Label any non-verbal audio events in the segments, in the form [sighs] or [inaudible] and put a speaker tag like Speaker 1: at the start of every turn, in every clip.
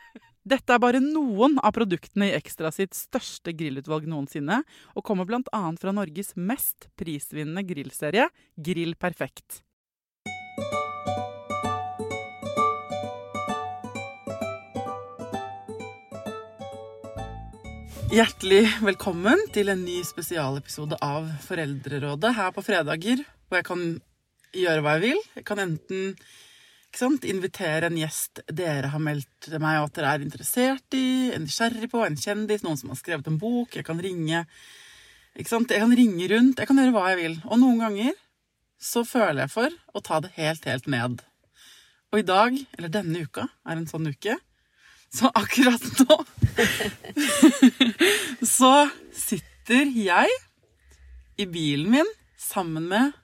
Speaker 1: Dette er bare noen av produktene i Ekstra sitt største grillutvalg noensinne, og kommer bl.a. fra Norges mest prisvinnende grillserie, Grill Perfekt. Hjertelig velkommen til en ny spesialepisode av Foreldrerådet her på fredager, hvor jeg kan gjøre hva jeg vil. Jeg kan enten ikke sant? Invitere en gjest dere har meldt til meg at dere er interessert i, en nysgjerrig på, en kjendis, noen som har skrevet en bok. Jeg kan ringe ikke sant? Jeg kan ringe rundt. Jeg kan gjøre hva jeg vil. Og noen ganger så føler jeg for å ta det helt, helt ned. Og i dag, eller denne uka, er en sånn uke. Så akkurat nå [laughs] så sitter jeg i bilen min sammen med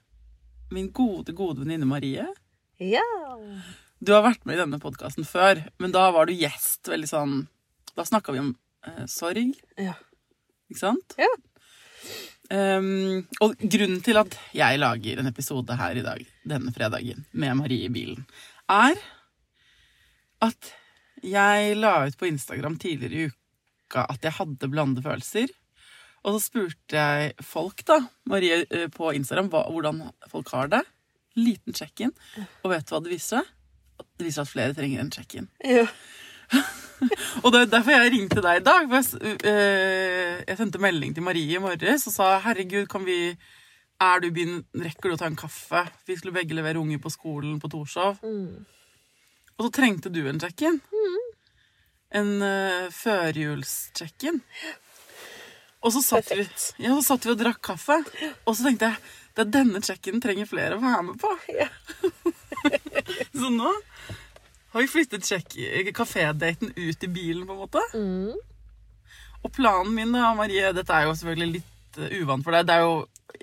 Speaker 1: min gode, gode venninne Marie.
Speaker 2: Ja.
Speaker 1: Du har vært med i denne podkasten før, men da var du gjest. veldig sånn... Da snakka vi om eh, sorg,
Speaker 2: Ja.
Speaker 1: ikke sant?
Speaker 2: Ja.
Speaker 1: Ehm, og grunnen til at jeg lager en episode her i dag, denne fredagen, med Marie i bilen, er at jeg la ut på Instagram tidligere i uka at jeg hadde blandede følelser. Og så spurte jeg folk, da, Marie eh, på Instagram, hva, hvordan folk har det. Liten check-in. Og vet du hva det viser seg? Det viser seg at flere trenger en check-in.
Speaker 2: ja.
Speaker 1: [laughs] Og det er derfor jeg ringte deg i dag. For jeg, s- eh, jeg sendte melding til Marie i morges og sa herregud, kan vi er du i byen, rekker du å ta en kaffe? Vi skulle begge levere unger på skolen på Torshov.
Speaker 2: Mm.
Speaker 1: Og så trengte du en check-in. En uh, førjuls-check-in. Og så satt, vi, ja, så satt vi og drakk kaffe. Og så tenkte jeg det er denne check-in trenger flere å være med på.
Speaker 2: Ja.
Speaker 1: [laughs] så nå har vi flyttet check- kafédaten ut i bilen, på en måte. Og planen min, da, Marie Dette er jo selvfølgelig litt eh, uvant for deg. Det er jo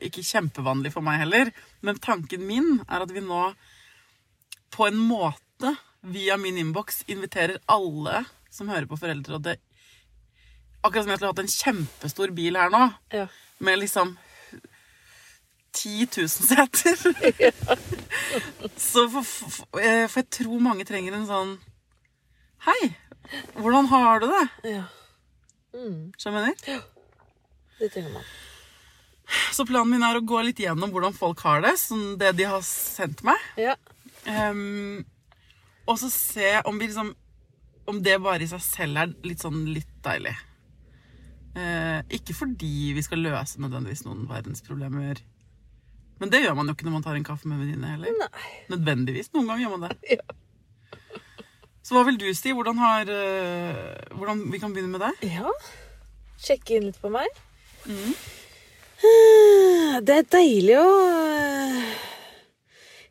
Speaker 1: ikke kjempevanlig for meg heller. Men tanken min er at vi nå på en måte, via min innboks, inviterer alle som hører på Foreldrerådet Akkurat som jeg skulle hatt en kjempestor bil her nå,
Speaker 2: ja.
Speaker 1: med liksom 10 000 seter. Så for, for, eh, for jeg tror mange trenger en sånn Hei, hvordan har du det?
Speaker 2: ja.
Speaker 1: Skjønner jeg mener?
Speaker 2: Det trenger man.
Speaker 1: Så planen min er å gå litt gjennom hvordan folk har det, sånn det de har sendt meg.
Speaker 2: Ja.
Speaker 1: Ehm, og så se om vi liksom Om det bare i seg selv er litt sånn litt deilig. Eh, ikke fordi vi skal løse nødvendigvis noen verdensproblemer. Men det gjør man jo ikke når man tar en kaffe med en venninne heller.
Speaker 2: Nei.
Speaker 1: Nødvendigvis. Noen ganger gjør man
Speaker 2: [laughs]
Speaker 1: det. Så hva vil du si? Hvordan har eh, Hvordan Vi kan begynne med deg.
Speaker 2: Ja. Mm. Sjekke inn litt på meg. Eh, [sighs] Det er deilig å eh,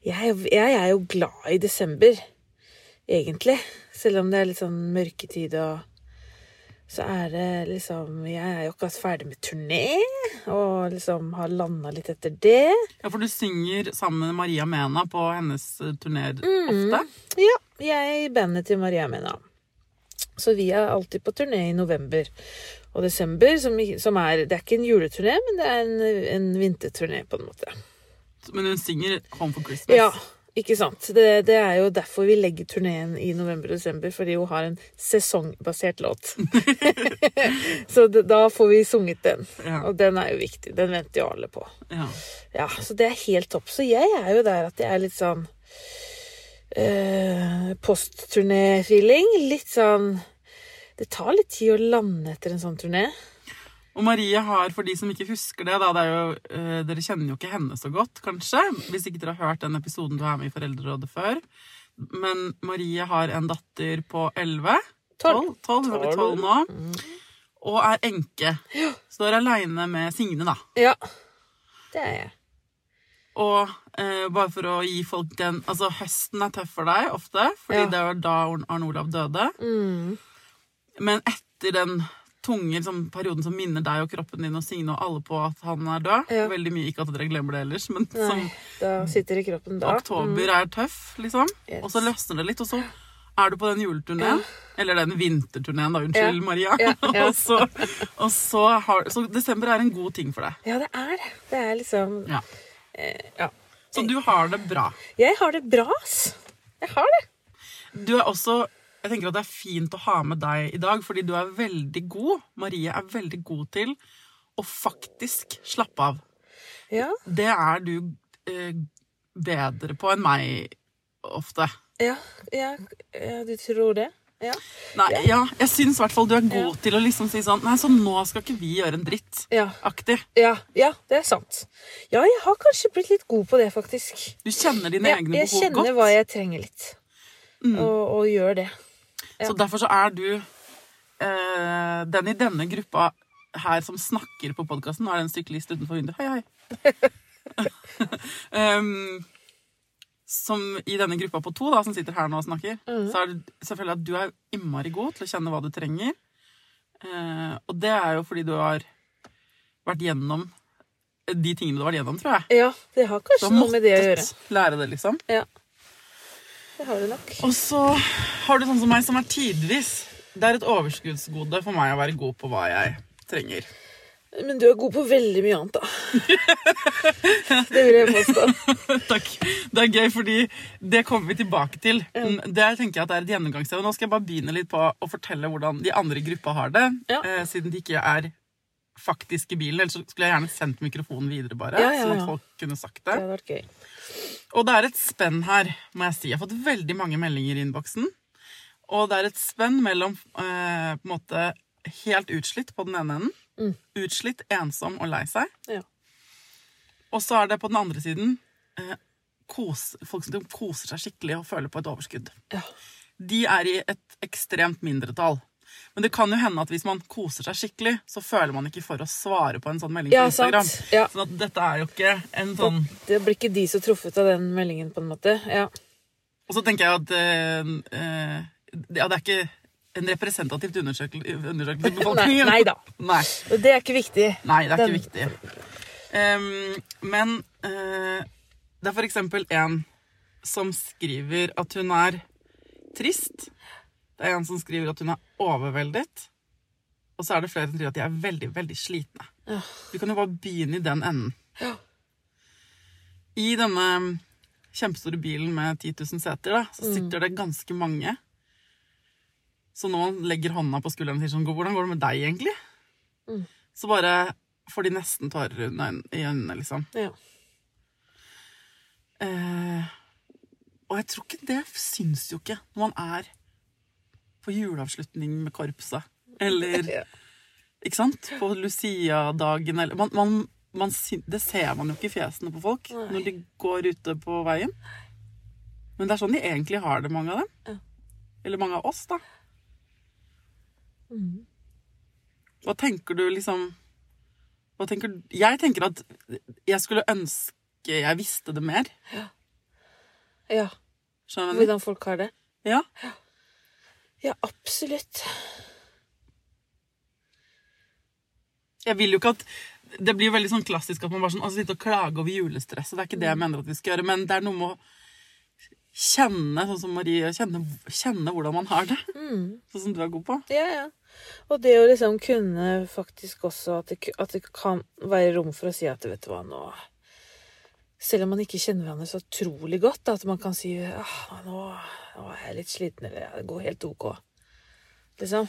Speaker 2: jeg, er jo- jeg er jo glad i desember, egentlig. Selv om det er litt sånn mørketid og så er det liksom Jeg er jo akkurat ferdig med turné, og liksom har landa litt etter det.
Speaker 1: Ja, for du synger sammen med Maria Mena på hennes eh, turnéer
Speaker 2: Mm.
Speaker 1: ofte.
Speaker 2: Ja, jeg er i bandet til Maria Mena. Så vi er alltid på turné i november og desember, som, som er Det er ikke en juleturné, men det er en, en vinterturné, på en måte.
Speaker 1: Men hun synger Home for Christmas.
Speaker 2: Ja, ikke sant. Det, det er jo derfor vi legger turneen i november og desember, fordi hun har en sesongbasert låt. [laughs] så d- da får vi sunget den.
Speaker 1: Ja.
Speaker 2: Og den er jo viktig. Den venter jo alle på.
Speaker 1: Ja.
Speaker 2: Ja, så det er helt topp. Så jeg er jo der at jeg er litt sånn eh, Postturné-feeling. Litt sånn Det tar litt tid å lande etter en sånn turné.
Speaker 1: Og Marie har, for de som ikke husker det, da, det er jo, eh, dere kjenner jo ikke henne så godt, kanskje, hvis ikke dere har hørt den episoden du er med i Foreldrerådet før. Men Marie har en datter på 11.
Speaker 2: Tolv. Mm.
Speaker 1: 12, 12, hun blir 12 nå. Og er enke. Står aleine med Signe, da.
Speaker 2: Ja. Det er jeg.
Speaker 1: Og eh, bare for å gi folk den Altså, høsten er tøff for deg ofte, fordi
Speaker 2: Ja. Mm.
Speaker 1: det var da Arn- Arne Olav døde. Men etter den tunge liksom, perioden som minner deg og kroppen din og Signe og alle på at han er død
Speaker 2: Ja.
Speaker 1: Veldig mye, ikke at dere glemmer det ellers, men som
Speaker 2: Nei, da sitter det i kroppen da. Mm.
Speaker 1: oktober er tøff, liksom. Og så løsner det litt, og så er du på den juleturneen. Eller den vinterturneen, da. Unnskyld,
Speaker 2: Ja.
Speaker 1: Maria. [laughs]
Speaker 2: Ja, ja.
Speaker 1: og så, og så, har, så desember er en god ting for deg.
Speaker 2: Ja, det er det. Det er liksom
Speaker 1: Ja.
Speaker 2: Ja.
Speaker 1: Så
Speaker 2: Eh.
Speaker 1: du har det bra.
Speaker 2: Jeg har det bra, ass. Jeg har det.
Speaker 1: Du er også Jeg tenker at det er fint å ha med deg i dag, fordi du er veldig god. Marie er veldig god til å faktisk slappe av.
Speaker 2: Ja,
Speaker 1: Det er du eh, bedre på enn meg ofte.
Speaker 2: ja, ja, ja du tror det? Ja.
Speaker 1: Nei, ja, jeg syns i hvert fall du er god til å liksom si sånn Nei, så nå skal ikke vi gjøre en dritt.
Speaker 2: Ja.
Speaker 1: Aktig.
Speaker 2: Ja, ja, det er sant. Ja, jeg har kanskje blitt litt god på det, faktisk.
Speaker 1: Du kjenner dine
Speaker 2: Jeg,
Speaker 1: egne
Speaker 2: jeg
Speaker 1: behov
Speaker 2: kjenner
Speaker 1: godt. Mm.
Speaker 2: hva jeg trenger litt, og, og gjør det.
Speaker 1: Så derfor så er du eh, den i denne gruppa her som snakker på podkasten. Nå er det en syklist utenfor vinduet. Hei, hei.
Speaker 2: [laughs]
Speaker 1: Em, som i denne gruppa på to, da, som sitter her nå og snakker,
Speaker 2: Mhm.
Speaker 1: så er det selvfølgelig at du er innmari god til å kjenne hva du trenger. Eh, og det er jo fordi du har vært gjennom de tingene du har vært gjennom, tror jeg.
Speaker 2: Ja, det har
Speaker 1: Du
Speaker 2: kanskje
Speaker 1: har
Speaker 2: noe med det å gjøre.
Speaker 1: måttet lære det, liksom.
Speaker 2: Ja. Det har du nok.
Speaker 1: Og så har du sånn som meg som er tidvis Det er et overskuddsgode for meg å være god på hva jeg trenger.
Speaker 2: Men du er god på veldig mye annet, da.
Speaker 1: [laughs]
Speaker 2: det vil jeg påstå.
Speaker 1: [laughs] Takk. Det er gøy, fordi det kommer vi tilbake til. Mm, Det tenker jeg at er et gjennomgangssted. Nå skal jeg bare begynne litt på å fortelle hvordan de andre i gruppa har det.
Speaker 2: Ja.
Speaker 1: eh, Siden de ikke er faktisk i bilen. Ellers så skulle jeg gjerne sendt mikrofonen videre, bare.
Speaker 2: Ja, ja,
Speaker 1: Sånn
Speaker 2: ja.
Speaker 1: at folk kunne sagt
Speaker 2: Det
Speaker 1: det.
Speaker 2: hadde vært gøy.
Speaker 1: Og det er et spenn her, må jeg si. Jeg har fått veldig mange meldinger i innboksen. Og det er et spenn mellom eh, på en måte helt utslitt på den ene enden.
Speaker 2: Mm.
Speaker 1: Utslitt, ensom og lei seg.
Speaker 2: Ja.
Speaker 1: Og så er det på den andre siden eh, kos, folk som koser seg skikkelig og føler på et overskudd.
Speaker 2: Ja.
Speaker 1: De er i et ekstremt mindretall. Men det kan jo hende at hvis man koser seg skikkelig, så føler man ikke for å svare på en sånn melding
Speaker 2: Ja,
Speaker 1: på Instagram.
Speaker 2: sant. Ja.
Speaker 1: Sånn at dette er jo ikke en sånn
Speaker 2: Det blir ikke de som truffet av den meldingen, på en måte. Ja.
Speaker 1: Og så tenker jeg at eh, eh, Ja, det er ikke en representativt undersøkel- undersøkelse i [laughs] befolkningen.
Speaker 2: Nei- neida.
Speaker 1: Nei,
Speaker 2: Og det er ikke viktig.
Speaker 1: nei, det er
Speaker 2: Den-
Speaker 1: ikke viktig. Em, men eh, det er for eksempel en som skriver at hun er trist. Det er en som skriver at hun er overveldet. Og så er det flere som skriver at de er veldig, veldig slitne.
Speaker 2: Ja.
Speaker 1: Du kan jo bare begynne i den enden. I denne kjempestore bilen med 10 000 seter, da, så
Speaker 2: Mm.
Speaker 1: sitter det ganske mange. Så når man legger hånda på skulderen og sier sånn, hvordan går det med deg egentlig? Så bare får de nesten tårer i øynene- i øynene, liksom.
Speaker 2: Ja.
Speaker 1: Eh, og jeg tror ikke det syns jo ikke når man er på juleavslutning med korpset. Eller
Speaker 2: Ja.
Speaker 1: ikke sant? på Lucia-dagen eller man, man, man, syn- Det ser man jo ikke i fjesene på folk når de går ute på veien. Men det er sånn de egentlig har det, mange av dem. Eller mange av oss, da. Hva tenker du liksom hva tenker, Jeg tenker at jeg skulle ønske jeg visste det mer.
Speaker 2: ja.
Speaker 1: Skjønner du? hva jeg mener?
Speaker 2: Hvordan folk har det.
Speaker 1: Ja.
Speaker 2: Ja, absolutt.
Speaker 1: Jeg vil jo ikke at Det blir jo veldig sånn klassisk at man bare sånn, altså, sitter og klager over julestresset. Det er ikke det jeg mener at vi skal gjøre, men det er noe med å kjenne, sånn som Marie, kjenne, kjenne hvordan man har det. Sånn som du er god på.
Speaker 2: Ja, ja. Og det å liksom kunne faktisk også at det, ku- at det kan være rom for å si at vet du hva, nå Selv om man ikke kjenner hverandre så utrolig godt, da, at man kan si ah, nå, nå er jeg litt sliten, eller ja, det går helt OK. Liksom.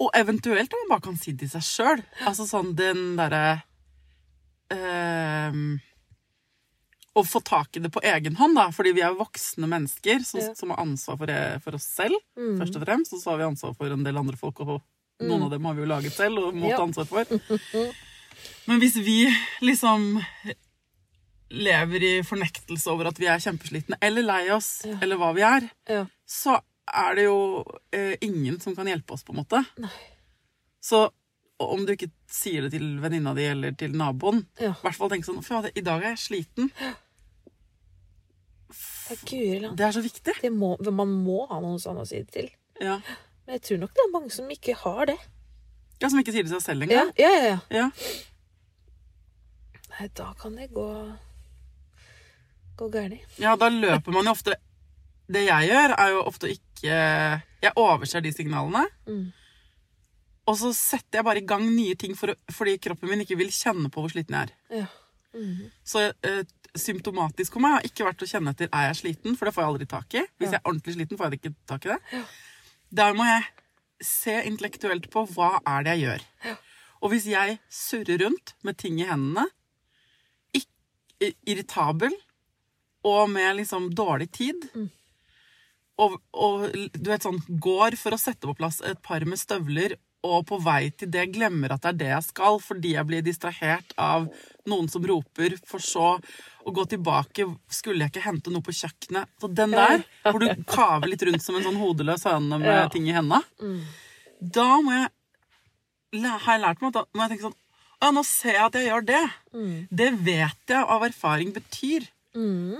Speaker 1: Og eventuelt om man bare kan si det til seg sjøl. Altså sånn den derre ehm, Å få tak i det på egen hånd, da. Fordi vi er voksne mennesker som,
Speaker 2: Ja. Mm.
Speaker 1: som har ansvar for, det, for oss selv, først og fremst. Og så har vi ansvar for en del andre folk, og noen av dem har vi jo laget selv og må
Speaker 2: Ja.
Speaker 1: ta ansvar
Speaker 2: [laughs]
Speaker 1: for. Men hvis vi liksom lever i fornektelse over at vi er kjempeslitne, eller lei oss, eller hva vi er,
Speaker 2: Ja.
Speaker 1: så er det jo eh, ingen som kan hjelpe oss, på en måte. Så om du ikke sier det til venninna di eller til naboen, i
Speaker 2: Ja.
Speaker 1: hvert fall tenk sånn Fader, i dag er jeg sliten.
Speaker 2: Ja, Guri land.
Speaker 1: Det er så viktig.
Speaker 2: Det må, man må ha noen sånne å si det til.
Speaker 1: Ja.
Speaker 2: Men jeg tror nok det er mange som ikke har det.
Speaker 1: ja som ikke sier det til seg selv
Speaker 2: Ja,
Speaker 1: engang.
Speaker 2: ja, ja. ja.
Speaker 1: Ja.
Speaker 2: Nei, da kan det gå Gå gærent.
Speaker 1: ja, da løper man jo ofte Det jeg gjør, er jo ofte å ikke Jeg overser de signalene. Og så setter jeg bare i gang nye ting for, å- fordi kroppen min ikke vil kjenne på hvor sliten jeg er.
Speaker 2: Ja.
Speaker 1: Så eh, symptomatisk for meg har ikke vært å kjenne etter er jeg sliten, for det får jeg aldri tak i. Hvis jeg er ordentlig sliten, får jeg ikke tak i det. Der må jeg se intellektuelt på hva er det jeg gjør. Og hvis jeg surrer rundt med ting i hendene, ikk- i- irritabel og med liksom dårlig tid og, og du vet sånn, går for å sette på plass et par med støvler, og på vei til det glemmer at det er det jeg skal, fordi jeg blir distrahert av noen som roper, for så å gå tilbake Skulle jeg ikke hente noe på kjøkkenet? Så den der, hvor du kaver litt rundt som en sånn hodeløs høne med
Speaker 2: Ja.
Speaker 1: ting i henda, da må jeg læ- har jeg lært meg at da må jeg tenke sånn Å, nå ser jeg at jeg gjør det.
Speaker 2: Mm.
Speaker 1: Det vet jeg av erfaring betyr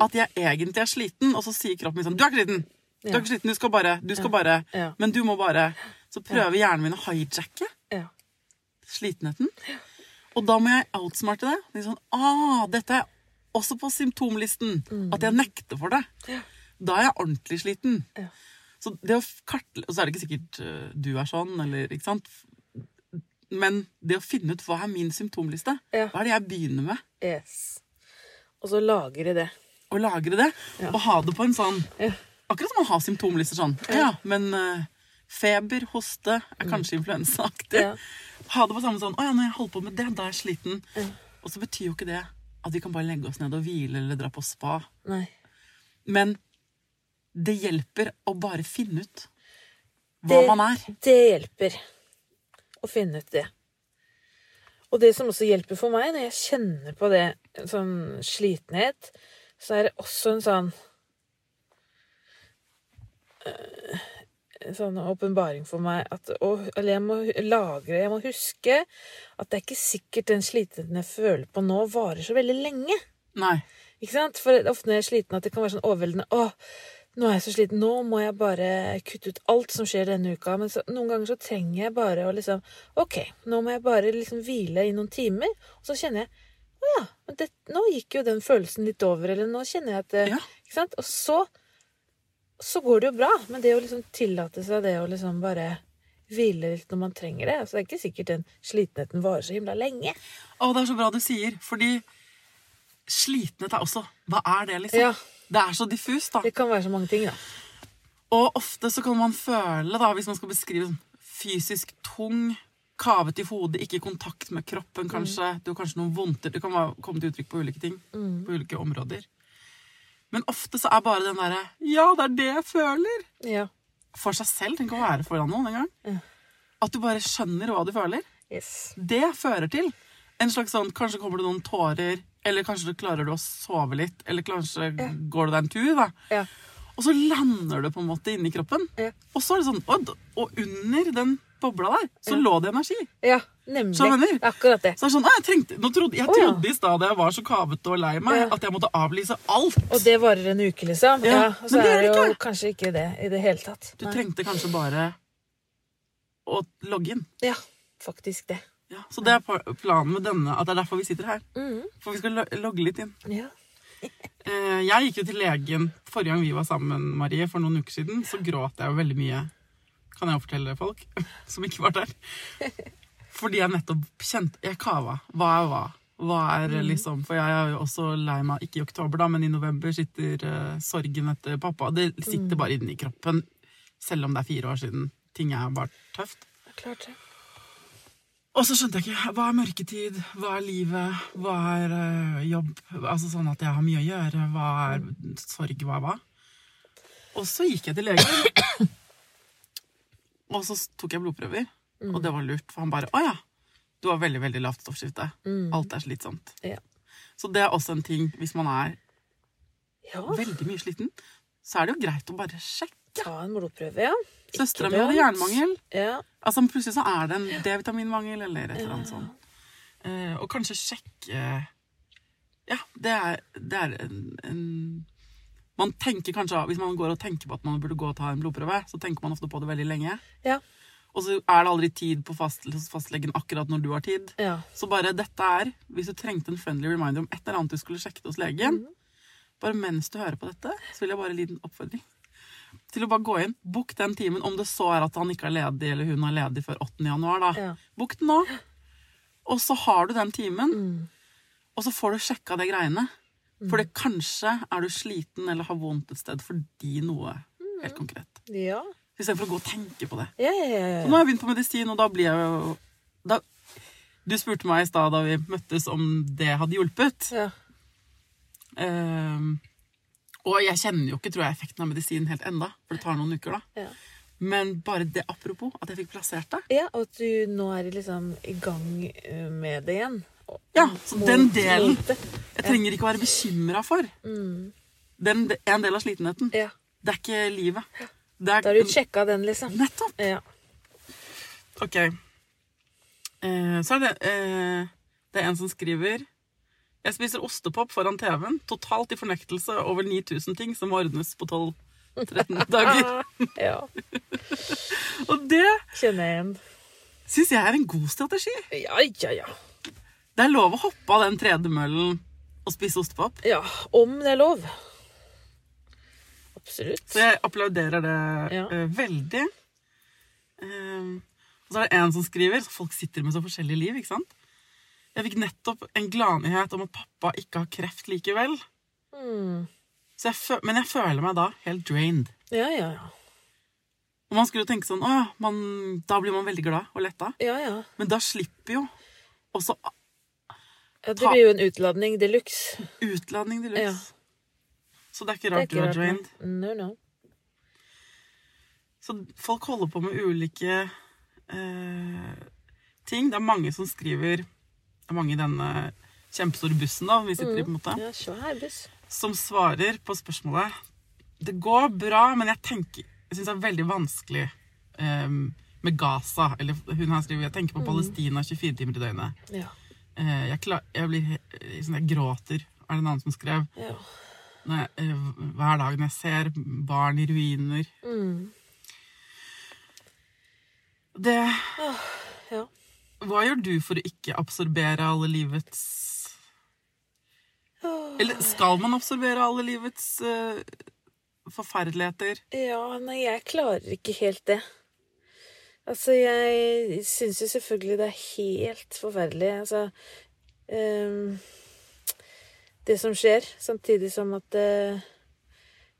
Speaker 1: at jeg egentlig er sliten, og så sier kroppen min sånn Du er ikke sliten! Du er ikke sliten, du skal bare, du skal bare
Speaker 2: Ja.
Speaker 1: Men du må bare Så prøver hjernen min å hijacke
Speaker 2: Ja.
Speaker 1: slitenheten. Og da må jeg outsmarte det. Litt sånn, ah, dette er også på symptomlisten.
Speaker 2: Mm.
Speaker 1: At jeg nekter for det. Da er jeg ordentlig sliten.
Speaker 2: Ja.
Speaker 1: Så det å kartle- Og så er det ikke sikkert øh, du er sånn, eller ikke sant. Men det å finne ut hva er min symptomliste,
Speaker 2: Ja.
Speaker 1: hva er det jeg begynner med,
Speaker 2: Yes. Og så lagre det.
Speaker 1: og lagre det, og ha det på en sånn Akkurat som å ha symptomlister sånn. Ja, men øh, feber, hoste er kanskje influensaaktig.
Speaker 2: Mm. Ja.
Speaker 1: ha det på samme sånn Å ja, når jeg holder på med det, da er jeg sliten. Og så betyr jo ikke det at vi kan bare legge oss ned og hvile eller dra på spa.
Speaker 2: Nei.
Speaker 1: Men det hjelper å bare finne ut hva
Speaker 2: Det-
Speaker 1: man er.
Speaker 2: Det hjelper å finne ut det. Og det som også hjelper for meg, når jeg kjenner på det, en sånn slitenhet, så er det også en sånn øh, en sånn åpenbaring for meg at å, Eller jeg må hu- lagre, jeg må huske at det er ikke sikkert den slitenheten jeg føler på nå, varer så veldig lenge.
Speaker 1: Nei.
Speaker 2: Ikke sant? For ofte når jeg er sliten, at det kan være sånn overveldende Å, nå er jeg så sliten. Nå må jeg bare kutte ut alt som skjer denne uka. Men så, noen ganger så trenger jeg bare å liksom Ok, nå må jeg bare liksom hvile i noen timer. Og så kjenner jeg Å ja, men det, nå gikk jo den følelsen litt over. Eller nå kjenner jeg at det,
Speaker 1: Ja.
Speaker 2: Ikke sant? Og så så går det jo bra. Men det å liksom tillate seg det å liksom bare hvile litt når man trenger det altså Det er ikke sikkert den slitenheten varer så himla lenge.
Speaker 1: Å, det er så bra du sier, fordi slitenhet er også Hva er det, liksom?
Speaker 2: Ja.
Speaker 1: Det er så diffust, da.
Speaker 2: Det kan være så mange ting, da.
Speaker 1: Og ofte så kan man føle, da, hvis man skal beskrive sånn fysisk tung, kavet i hodet, ikke i kontakt med
Speaker 2: Mm.
Speaker 1: kroppen kanskje, du har kanskje noen vondter, det kan være- komme til uttrykk på ulike ting,
Speaker 2: Mm.
Speaker 1: på ulike områder. Men ofte så er bare den derre 'ja, det er det jeg føler'
Speaker 2: Ja.
Speaker 1: for seg selv. Tenk å være foran noen en gang. At du bare skjønner hva du føler.
Speaker 2: Yes.
Speaker 1: Det fører til en slags sånn Kanskje kommer det noen tårer, eller kanskje du klarer du å sove litt, eller kanskje går du deg en tur, da.
Speaker 2: Ja.
Speaker 1: Og så lander det på en måte inni kroppen.
Speaker 2: Ja.
Speaker 1: Og så er det sånn, og, og under den bobla der, så lå det energi.
Speaker 2: Ja, nemlig.
Speaker 1: Skjønner du?
Speaker 2: Det er Akkurat det.
Speaker 1: Så er det sånn, «Å, jeg trengte, nå trodde, jeg
Speaker 2: Å, ja.
Speaker 1: trodde i stad da jeg var så kavete og lei meg,
Speaker 2: Ja.
Speaker 1: at jeg måtte avlyse alt.
Speaker 2: Og det varer en uke, liksom.
Speaker 1: Ja,
Speaker 2: Ja, Og så
Speaker 1: men det
Speaker 2: er
Speaker 1: gjør
Speaker 2: det
Speaker 1: det
Speaker 2: jo
Speaker 1: ikke.
Speaker 2: kanskje ikke det i det hele tatt.
Speaker 1: Du
Speaker 2: Nei.
Speaker 1: trengte kanskje bare å logge inn.
Speaker 2: Ja, faktisk det.
Speaker 1: Ja, så det er pa- planen med denne, at det er derfor vi sitter her.
Speaker 2: Mhm.
Speaker 1: For vi skal lo- logge litt inn.
Speaker 2: Ja.
Speaker 1: Eh, Jeg gikk jo til legen forrige gang vi var sammen, Marie, for noen uker siden. Så gråt jeg jo veldig mye, kan jeg jo fortelle folk, [laughs] som ikke var der. Fordi jeg nettopp kjente Jeg kava. Hva er hva? Hva er liksom For jeg er jo også lei meg, ikke i oktober, da, men i november sitter eh, sorgen etter pappa. Det sitter bare inni kroppen, selv om det er fire år siden. Ting er bare tøft.
Speaker 2: Klart det.
Speaker 1: Og så skjønte jeg ikke. Hva er mørketid? Hva er livet? Hva er øh, jobb? Altså sånn at jeg har mye å gjøre. Hva er sorg? Hva er hva? Og så gikk jeg til legen. Og så s- tok jeg blodprøver, og det var lurt. For han bare Å ja, du har veldig, veldig lavt stoffskifte. Alt er slitsomt.
Speaker 2: Ja.
Speaker 1: Så det er også en ting hvis man er
Speaker 2: ja.
Speaker 1: veldig mye sliten, så er det jo greit å bare sjekke.
Speaker 2: Ta en blodprøve, ja.
Speaker 1: Søstera mi
Speaker 2: dumt.
Speaker 1: hadde jernmangel.
Speaker 2: Ja.
Speaker 1: Altså men Plutselig så er det en D-vitaminmangel eller et eller annet sånt. Eh, og kanskje sjekke Ja, det er, det er en, en Man tenker kanskje Hvis man går og tenker på at man burde gå og ta en blodprøve, så tenker man ofte på det veldig lenge.
Speaker 2: Ja.
Speaker 1: Og så er det aldri tid på fast, hos fastlegen akkurat når du har tid.
Speaker 2: ja.
Speaker 1: Så bare dette er Hvis du trengte en friendly reminder om et eller annet du skulle sjekket hos legen
Speaker 2: Mm.
Speaker 1: Bare mens du hører på dette, så vil jeg bare gi en liten oppfordring til å bare gå inn. Bok den timen, om det så er at han ikke er ledig, eller hun er ledig før 8. januar, da.
Speaker 2: Ja.
Speaker 1: Bok den nå. Og så har du den timen,
Speaker 2: Mm.
Speaker 1: og så får du sjekka de greiene. For det kanskje er du sliten eller har vondt et sted fordi noe helt konkret.
Speaker 2: Ja.
Speaker 1: Istedenfor å gå og tenke på det.
Speaker 2: Ja, ja, ja, ja.
Speaker 1: Og nå har jeg begynt på medisin, og da blir jeg jo da, Du spurte meg i stad da vi møttes, om det hadde hjulpet.
Speaker 2: ja.
Speaker 1: Ehm, og jeg kjenner jo ikke tror jeg, effekten av medisin helt enda, for det tar noen uker. da.
Speaker 2: ja.
Speaker 1: Men bare det apropos at jeg fikk plassert det.
Speaker 2: Ja, og at du nå er liksom i gang eh, med det igjen. Og-
Speaker 1: Ja, Så den delen
Speaker 2: Lite.
Speaker 1: jeg trenger ikke å være bekymra for. Den, er en del av slitenheten.
Speaker 2: Mm. Ja.
Speaker 1: Det er ikke livet. Det
Speaker 2: Da har du sjekka den, liksom.
Speaker 1: Nettopp!
Speaker 2: Ja.
Speaker 1: Ok. Eh, så er det eh, Det er en som skriver Jeg spiser ostepop foran TV-en, totalt i fornektelse over 9000 ting som må ordnes på 12-13 dager.
Speaker 2: ja.
Speaker 1: Og det
Speaker 2: Kjenner jeg igjen.
Speaker 1: syns jeg er en god strategi.
Speaker 2: Ja, ja, ja.
Speaker 1: Det er lov å hoppe av den tredemøllen og spise ostepop.
Speaker 2: Ja, Om det er lov. Absolutt.
Speaker 1: Så jeg applauderer det
Speaker 2: Ja.
Speaker 1: eh, veldig. Ehm, og så er det en som skriver så Folk sitter med så forskjellige liv, ikke sant? Jeg fikk nettopp en gladnyhet om at pappa ikke har kreft likevel.
Speaker 2: Hmm.
Speaker 1: Så jeg fø men jeg føler meg da helt drained.
Speaker 2: Ja, ja, ja.
Speaker 1: Og man skulle jo tenke sånn Å ja, man, da blir man veldig glad og letta.
Speaker 2: ja, ja.
Speaker 1: Men da slipper jo også
Speaker 2: ja det blir jo en utladning de luxe.
Speaker 1: utladning de luxe.
Speaker 2: Ja.
Speaker 1: Så det er ikke
Speaker 2: Det er
Speaker 1: rart
Speaker 2: ikke
Speaker 1: du
Speaker 2: rart,
Speaker 1: er drained.
Speaker 2: nei. No, no.
Speaker 1: Så folk holder på med ulike eh, ting. Det er mange som skriver Det er mange i denne kjempestore bussen da, vi sitter i, på en måte,
Speaker 2: Ja, svær buss.
Speaker 1: som svarer på spørsmålet Det går bra, men jeg tenker Jeg syns det er veldig vanskelig eh, med Gaza. Eller hun her skriver Jeg tenker på Palestina 24 timer i døgnet.
Speaker 2: Ja.
Speaker 1: Eh, jeg, klar, jeg blir he- sånn, Jeg gråter, er det en annen som skrev.
Speaker 2: ja.
Speaker 1: Når jeg, eh, hver dag når jeg ser barn i ruiner.
Speaker 2: Mm.
Speaker 1: Det
Speaker 2: ja.
Speaker 1: Hva gjør du for å ikke absorbere alle livets Eller skal man absorbere alle livets eh, forferdeligheter?
Speaker 2: Ja, nei, jeg klarer ikke helt det. Altså, jeg syns jo selvfølgelig det er helt forferdelig. Altså ehm, Det som skjer, samtidig som at eh,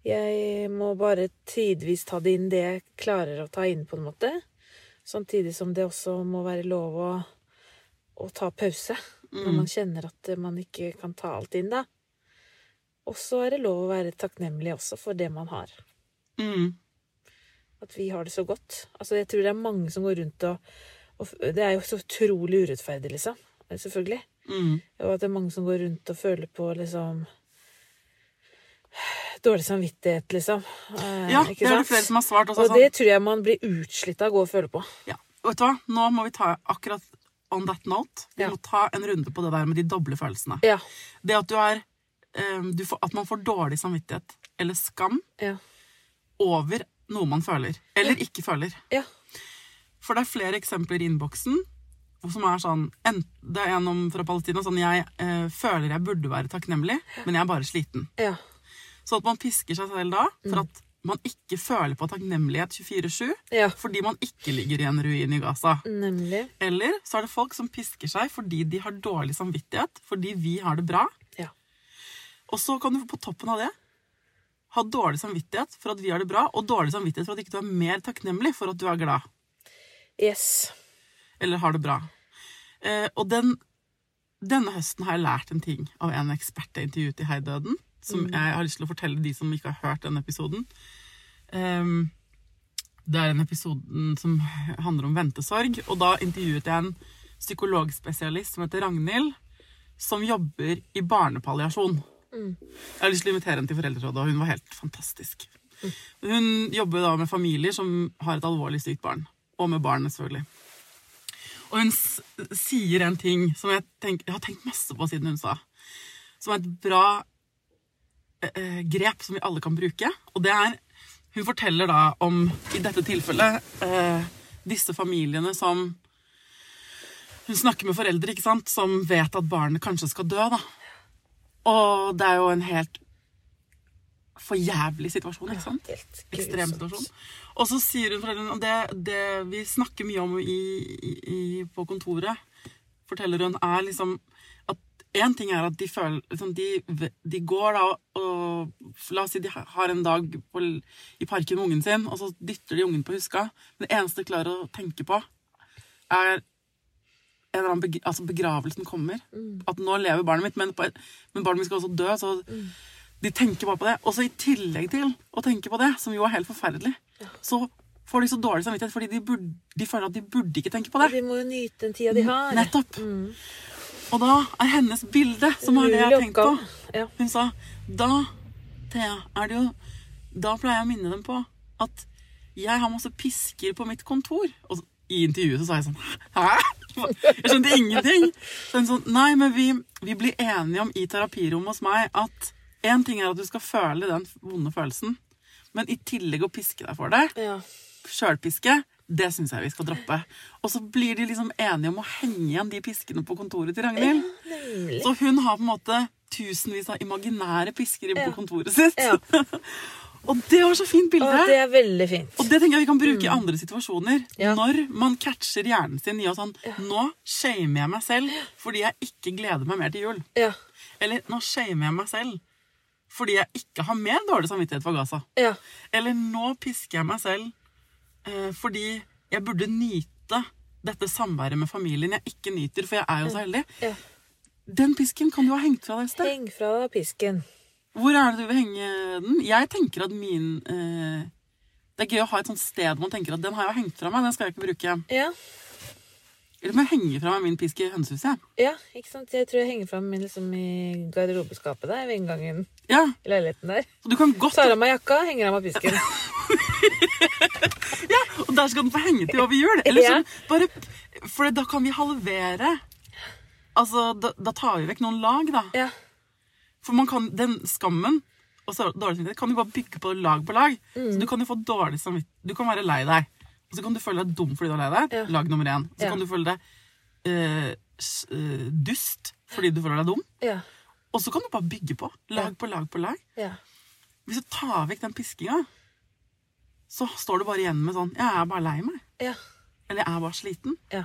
Speaker 2: jeg må bare tidvis ta det inn det jeg klarer å ta inn, på en måte. Samtidig som det også må være lov å, å ta pause når man kjenner at man ikke kan ta alt inn, da. Og så er det lov å være takknemlig også for det man har
Speaker 1: Mm.
Speaker 2: at vi har det så godt. Altså, jeg tror det er mange som går rundt og, og f- Det er jo så utrolig urettferdig, liksom. Selvfølgelig.
Speaker 1: Mm.
Speaker 2: Og at det er mange som går rundt og føler på liksom Dårlig samvittighet, liksom. Eh,
Speaker 1: Ja,
Speaker 2: ikke
Speaker 1: det er det
Speaker 2: sant?
Speaker 1: flere som har svart. Også,
Speaker 2: Og
Speaker 1: sånn,
Speaker 2: det tror jeg man blir utslitt av å gå og føle på.
Speaker 1: ja. Vet du hva, nå må vi ta akkurat on that note. Vi
Speaker 2: Ja.
Speaker 1: må ta en runde på det der med de doble følelsene.
Speaker 2: Ja.
Speaker 1: Det at du er eh, du får, At man får dårlig samvittighet eller skam
Speaker 2: Ja.
Speaker 1: over noe man føler. Eller ikke føler.
Speaker 2: ja.
Speaker 1: For det er flere eksempler i innboksen. som er sånn en, Det er en om fra Palestina sånn Jeg eh, føler jeg burde være takknemlig, men jeg er bare sliten.
Speaker 2: Ja.
Speaker 1: Så at man pisker seg selv da for at man ikke føler på takknemlighet 24-7
Speaker 2: ja.
Speaker 1: fordi man ikke ligger i en ruin i Gaza.
Speaker 2: Mm. Nemlig.
Speaker 1: Eller så er det folk som pisker seg fordi de har dårlig samvittighet, fordi vi har det bra.
Speaker 2: Ja.
Speaker 1: Og så kan du på toppen av det ha dårlig samvittighet for at vi har det bra, og dårlig samvittighet for at ikke du er mer takknemlig for at du er glad
Speaker 2: Yes.
Speaker 1: eller har det bra. Eh, og den, denne høsten har jeg lært en ting av en ekspert jeg intervjuet i Heidøden, som jeg har lyst til å fortelle de som ikke har hørt den episoden. Ehm, det er en episode som handler om ventesorg, og da intervjuet jeg en psykologspesialist som heter Ragnhild, som jobber i barnepalliasjon. Jeg har lyst til å invitere henne til foreldrerådet, og hun var helt fantastisk. Hun jobber da med familier som har et alvorlig sykt barn, og med barnet selvfølgelig. Og hun s sier en ting som jeg, tenk, jeg har tenkt masse på siden hun sa. Som er et bra eh, eh, grep som vi alle kan bruke. Og det er Hun forteller da om, i dette tilfellet, eh, disse familiene som Hun snakker med foreldre ikke sant, som vet at barnet kanskje skal dø. da. Og det er jo en helt for jævlig situasjon, ikke sant?
Speaker 2: Helt
Speaker 1: ekstrem
Speaker 2: grusomt.
Speaker 1: situasjon. Og så sier hun foreldrene og det, det vi snakker mye om i, i, i- på kontoret, forteller hun, er liksom at én ting er at de føler liksom, de, de går da og La oss si de har en dag på, l- i parken med ungen sin, og så dytter de ungen på huska. Men det eneste de klarer å tenke på, er en eller annen beg altså begravelsen kommer. At nå lever barnet mitt, men, på, men barnet mitt skal også dø. Så de tenker bare på det. Og så i tillegg til å tenke på det, som jo er helt forferdelig, så får de så dårlig samvittighet fordi de, burde, de føler at de burde ikke tenke på det.
Speaker 2: Vi må jo nyte den tida de har.
Speaker 1: Nettopp. Mm. Og da er hennes bilde, som er det jeg har
Speaker 2: Umulig
Speaker 1: tenkt på
Speaker 2: oppgave. Ja.
Speaker 1: Hun sa da, Thea, er det jo Da pleier jeg å minne dem på at jeg har masse pisker på mitt kontor. Og så- i intervjuet så sa jeg sånn Hæ? Jeg skjønte ingenting. Så hun sånn Nei, men vi, vi blir enige om i terapirommet hos meg at én ting er at du skal føle den vonde følelsen, men i tillegg å piske deg for det
Speaker 2: Ja.
Speaker 1: sjølpiske, det syns jeg vi skal droppe. Og så blir de liksom enige om å henge igjen de piskene på kontoret til Ragnhild.
Speaker 2: Nemlig.
Speaker 1: Så hun har på en måte tusenvis av imaginære pisker inne
Speaker 2: Ja.
Speaker 1: på kontoret sitt.
Speaker 2: Ja.
Speaker 1: [laughs] og det var så fint bilde!
Speaker 2: Å, det er veldig fint.
Speaker 1: Og det tenker jeg vi kan bruke i andre situasjoner.
Speaker 2: Ja.
Speaker 1: Når man catcher hjernen sin i å sånn Nå shamer jeg meg selv fordi jeg ikke gleder meg mer til jul.
Speaker 2: Ja.
Speaker 1: Eller nå shamer jeg meg selv fordi jeg ikke har mer dårlig samvittighet for Gaza.
Speaker 2: Ja.
Speaker 1: Eller nå pisker jeg meg selv eh, fordi jeg burde nyte dette samværet med familien jeg ikke nyter, for jeg er jo så heldig.
Speaker 2: Ja.
Speaker 1: Den pisken kan du ha hengt fra deg et sted.
Speaker 2: Heng fra deg pisken.
Speaker 1: Hvor er det du vil henge den? Jeg tenker at min eh, Det er gøy å ha et sånt sted man tenker at den har jeg hengt fra meg, den skal jeg ikke bruke.
Speaker 2: Ja.
Speaker 1: Eller må jeg henge fra meg min pisk i hønsehuset.
Speaker 2: ja. Ikke sant? Jeg tror jeg henger fram min liksom, i garderobeskapet der ved inngangen
Speaker 1: Ja,
Speaker 2: i leiligheten der.
Speaker 1: så du kan godt
Speaker 2: Tar av meg jakka, henger av meg [laughs] pisken.
Speaker 1: Og der skal den få henge til over jul. Eller
Speaker 2: Ja.
Speaker 1: sånn, bare, for da kan vi halvere. Altså, da, da tar vi vekk noen lag, da.
Speaker 2: Ja.
Speaker 1: For man kan, den skammen og så- dårlig samvittighet kan du bare bygge på lag på lag.
Speaker 2: Mm.
Speaker 1: Så du kan jo få dårlig samvittighet. Du kan være lei deg. Og så kan du føle deg dum fordi du er lei deg.
Speaker 2: Ja.
Speaker 1: Lag nummer én. Så
Speaker 2: Ja.
Speaker 1: kan du føle deg eh, s- eh, dust fordi du føler deg dum.
Speaker 2: Ja.
Speaker 1: Og så kan du bare bygge på.
Speaker 2: Ja.
Speaker 1: Lag på lag på lag.
Speaker 2: Ja.
Speaker 1: Hvis du tar vekk den piskinga, så står du bare igjen med sånn Jeg er bare lei meg.
Speaker 2: Ja.
Speaker 1: Eller jeg er bare sliten.
Speaker 2: ja.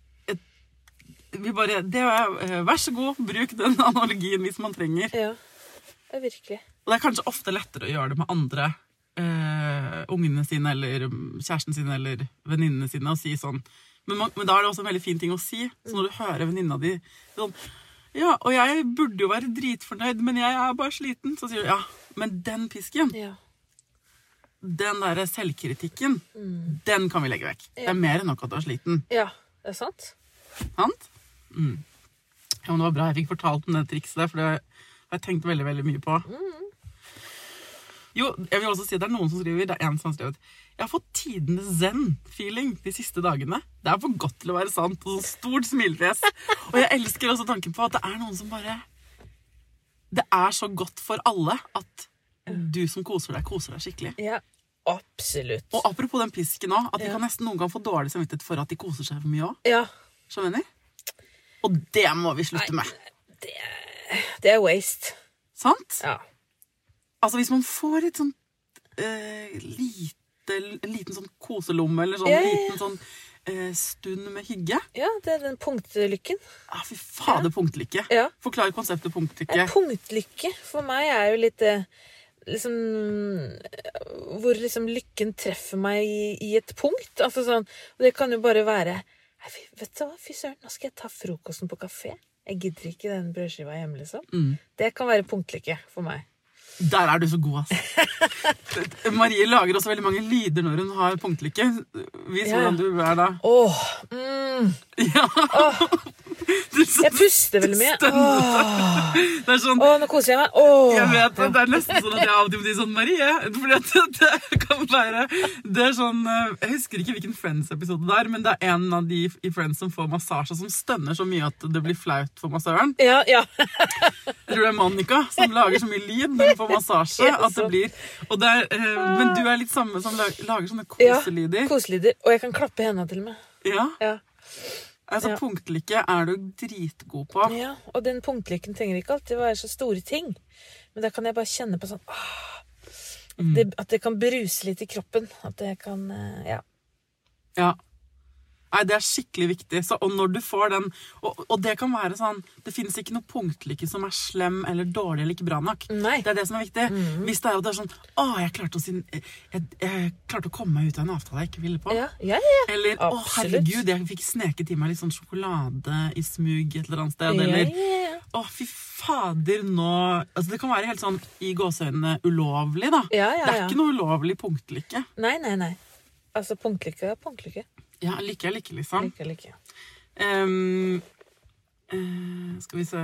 Speaker 1: et, vi bare det er, eh, Vær så god, bruk den [laughs] analogien hvis man trenger.
Speaker 2: Ja. ja virkelig.
Speaker 1: Og det er kanskje ofte lettere å gjøre det med andre. eh, ungene sine eller mm, kjæresten sin eller venninnene sine og si sånn men, man, men da er det også en veldig fin ting å si. Så når du hører venninna di sånn Ja, og jeg burde jo være dritfornøyd, men jeg er bare sliten. Så sier du ja, men den pisken,
Speaker 2: Ja.
Speaker 1: den derre selvkritikken, den kan vi legge vekk. Det
Speaker 2: Ja.
Speaker 1: er mer enn nok at du er sliten.
Speaker 2: ja. Det er sant.
Speaker 1: Sant? Mm. Ja, men det var bra jeg fikk fortalt om det trikset der, for det har jeg tenkt veldig, veldig mye på. Jo, jeg vil også si det er noen som skriver, det er en som har skrevet Jeg har fått tidenes zen-feeling de siste dagene. Det er for godt til å være sant. Og så stort smilefjes. Og jeg elsker også tanken på at det er noen som bare Det er så godt for alle at du som koser deg, koser deg skikkelig.
Speaker 2: Ja, absolutt.
Speaker 1: Og apropos den pisken òg, at de
Speaker 2: Ja.
Speaker 1: kan nesten noen gang få dårlig samvittighet for at de koser seg for mye òg.
Speaker 2: Ja.
Speaker 1: Skjønner du? Og det må vi slutte med.
Speaker 2: Det er waste.
Speaker 1: Sant?
Speaker 2: Ja.
Speaker 1: Altså hvis man får et sånn eh, lite, en liten sånn koselomme eller sånn
Speaker 2: Ja, ja, ja.
Speaker 1: liten sånn eh, stund med hygge
Speaker 2: ja, det er den punktlykken.
Speaker 1: ah, Fy fader, punktlykke.
Speaker 2: Ja.
Speaker 1: Forklar konseptet punktlykke.
Speaker 2: Nei, punktlykke for meg er jo litt eh, liksom Hvor liksom lykken treffer meg i, i et punkt. Altså sånn Og det kan jo bare være «Nei, fy- Vet du hva, fy søren, nå skal jeg ta frokosten på kafé. Jeg gidder ikke den brødskiva hjemme, liksom.
Speaker 1: Mm.
Speaker 2: Det kan være punktlykke for meg.
Speaker 1: Der er du så
Speaker 2: [laughs]
Speaker 1: god, ass. Marie lager også veldig mange lyder når hun har punktlykke. Vis
Speaker 2: Ja.
Speaker 1: hvordan du er da.
Speaker 2: Åh, mm,
Speaker 1: Ja. [laughs] Du s-
Speaker 2: jeg puster veldig mye. Åh,
Speaker 1: Det er sånn
Speaker 2: åh, nå koser jeg meg. Åh.
Speaker 1: Jeg vet, det Det er nesten sånn at jeg av og til blir sånn Marie. Fordi at det, det kan være Det er sånn eh, Jeg husker ikke hvilken Friends-episode det er, men det er en av de i Friends som får massasje, som stønner så mye at det blir flaut for massøren.
Speaker 2: Ja,
Speaker 1: [laughs]
Speaker 2: ja.
Speaker 1: Jeg tror det er Monica som lager så mye lyd når hun får massasje at det blir og det er, eh, Men du er litt samme som lag- lager sånne
Speaker 2: ja.
Speaker 1: koselyder.
Speaker 2: Koselyder. Og jeg kan klappe i hendene til og med.
Speaker 1: Ja.
Speaker 2: Ja.
Speaker 1: Altså,
Speaker 2: Ja.
Speaker 1: punktlykke er du dritgod på.
Speaker 2: Ja, og den punktlykken trenger ikke alltid være så store ting. Men da kan jeg bare kjenne på sånn ah, at,
Speaker 1: Mm.
Speaker 2: det, at det kan bruse litt i kroppen. At det kan eh, Ja.
Speaker 1: Ja. Nei, det er skikkelig viktig. Så, og når du får den og, og det kan være sånn Det fins ikke noe punktlykke som er slem eller dårlig eller ikke bra nok.
Speaker 2: Nei. Mhm.
Speaker 1: Det er det som er viktig. Hvis det er at det er sånn Å, jeg klarte å, sin, jeg, jeg klarte å komme meg ut av en avtale jeg ikke ville på.
Speaker 2: Ja, ja, ja. ja.
Speaker 1: Eller å,
Speaker 2: Absolutt.
Speaker 1: herregud, jeg fikk sneket i meg litt sånn sjokolade i smug et eller annet sted.
Speaker 2: Ja,
Speaker 1: Eller
Speaker 2: ja, ja.
Speaker 1: å, fy fader, nå Altså, det kan være helt sånn i gåseøynene ulovlig, da.
Speaker 2: Ja, ja,
Speaker 1: Det er
Speaker 2: ja.
Speaker 1: ikke noe ulovlig punktlykke.
Speaker 2: Nei, nei, nei. Altså, punktlykke er punktlykke.
Speaker 1: Ja, lykke er lykke, liksom.
Speaker 2: Lykke er lykke.
Speaker 1: Ehm, eh, skal vi se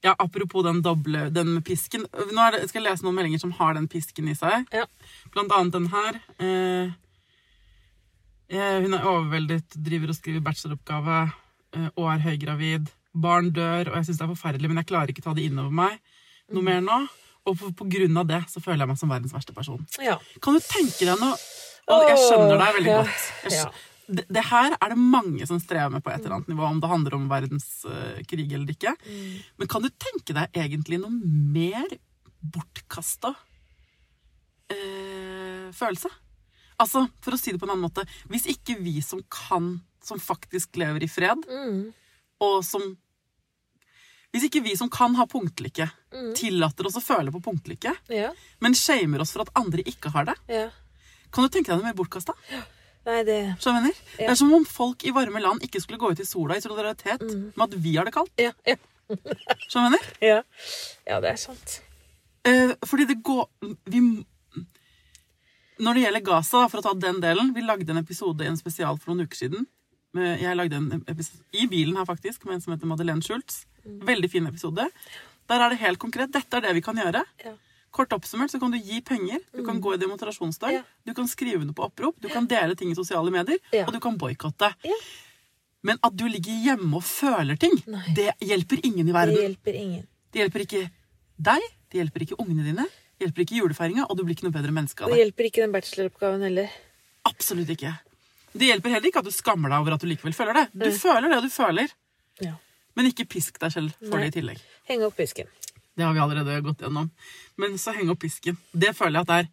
Speaker 1: Ja, apropos den doble Den med pisken. Nå er det, skal jeg lese noen meldinger som har den pisken i seg.
Speaker 2: Ja.
Speaker 1: Blant annet den her. Eh, eh, hun er overveldet, driver og skriver bacheloroppgave eh, og er høygravid. Barn dør, og jeg syns det er forferdelig, men jeg klarer ikke ta det innover meg noe mer nå. Og på, på grunn av det så føler jeg meg som verdens verste person.
Speaker 2: Ja.
Speaker 1: Kan du tenke deg noe Al- Jeg skjønner deg veldig
Speaker 2: Åh, ja,
Speaker 1: godt. Jeg skj-
Speaker 2: ja.
Speaker 1: det, det her er det mange som strever med på et eller annet nivå, om det handler om verdenskrig eller ikke.
Speaker 2: Mm.
Speaker 1: Men kan du tenke deg egentlig noe mer bortkasta eh, følelse? Altså, for å si det på en annen måte Hvis ikke vi
Speaker 2: Mm.
Speaker 1: som kan, som faktisk lever i fred, og som Hvis ikke vi som kan ha punktlykke,
Speaker 2: Mm.
Speaker 1: tillater oss å føle på punktlykke,
Speaker 2: Ja.
Speaker 1: men shamer oss for at andre ikke har det,
Speaker 2: ja.
Speaker 1: kan du tenke deg det mer bortkasta?
Speaker 2: Nei, det
Speaker 1: Skjønner? Det er som om folk i varme land ikke skulle gå ut i sola i solidaritet med at vi har det kaldt.
Speaker 2: Ja, ja.
Speaker 1: Skjønner?
Speaker 2: Ja, ja det er sant.
Speaker 1: Eh, fordi det går vi, Når det gjelder Gaza, da, for å ta den delen Vi lagde en episode i en spesial for noen uker siden. Med- Jeg lagde en episode i bilen her, faktisk, med en som heter Madeleine Schultz.
Speaker 2: Mm.
Speaker 1: Veldig fin episode. Der er det helt konkret. Dette er det vi kan gjøre.
Speaker 2: Ja. Mm.
Speaker 1: Kort oppsummert så kan du gi penger, du kan gå i demonstrasjonsdag,
Speaker 2: Ja.
Speaker 1: du kan skrive under på opprop, du kan dele ting i sosiale medier,
Speaker 2: Ja.
Speaker 1: og du kan boikotte.
Speaker 2: Ja.
Speaker 1: Men at du ligger hjemme og føler ting,
Speaker 2: Nei.
Speaker 1: det hjelper ingen i
Speaker 2: Det
Speaker 1: verden.
Speaker 2: hjelper ingen.
Speaker 1: Det hjelper ikke deg, det hjelper ikke ungene dine, det hjelper ikke julefeiringa, og du blir ikke noe bedre menneske av
Speaker 2: Det
Speaker 1: det.
Speaker 2: hjelper ikke den bacheloroppgaven heller.
Speaker 1: Absolutt ikke. Det hjelper heller ikke at du skammer deg over at du likevel føler det. Du føler det du føler,
Speaker 2: Ja.
Speaker 1: men ikke pisk deg selv for
Speaker 2: Nei.
Speaker 1: det i tillegg.
Speaker 2: Henge opp pisken.
Speaker 1: Det har vi allerede gått gjennom. Men så henge opp pisken. Det føler jeg at det er.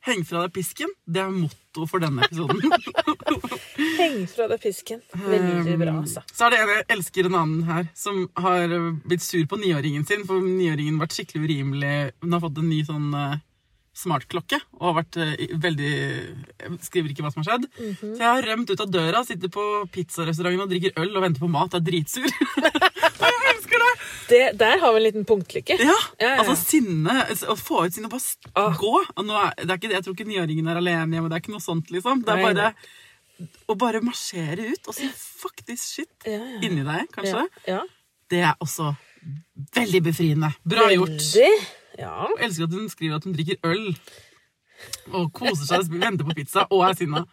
Speaker 1: Heng fra deg pisken. Det er motto for denne episoden. [laughs]
Speaker 2: Henge fra deg pisken. Veldig bra, altså.
Speaker 1: Så er det en jeg elsker en annen her, som har eh, blitt sur på niåringen sin, for niåringen har vært skikkelig urimelig. Hun har fått en ny sånn eh, smartklokke, og har vært eh, i- veldig jeg Skriver ikke hva som har skjedd.
Speaker 2: Mhm.
Speaker 1: Så jeg har rømt ut av døra, sitter på pizzarestauranten og drikker øl og venter på mat. Jeg er dritsur. [laughs] jeg elsker det!
Speaker 2: Det, der har vi en liten punktlykke.
Speaker 1: Ja,
Speaker 2: Ja, ja,
Speaker 1: altså
Speaker 2: ja.
Speaker 1: sinne altså, Å få ut sinne og bare st- gå. Og nå er, det er ikke det, Jeg tror ikke niåringen er alene hjemme. Det er ikke noe sånt, liksom. Det er
Speaker 2: Nei,
Speaker 1: bare å bare marsjere ut og si fuck this shit
Speaker 2: Ja, ja.
Speaker 1: inni deg, kanskje.
Speaker 2: Ja, ja.
Speaker 1: Det er også veldig befriende. Bra gjort.
Speaker 2: Veldig. Ja.
Speaker 1: Jeg elsker at hun skriver at hun drikker øl og koser seg, [laughs] venter på pizza og er sinna.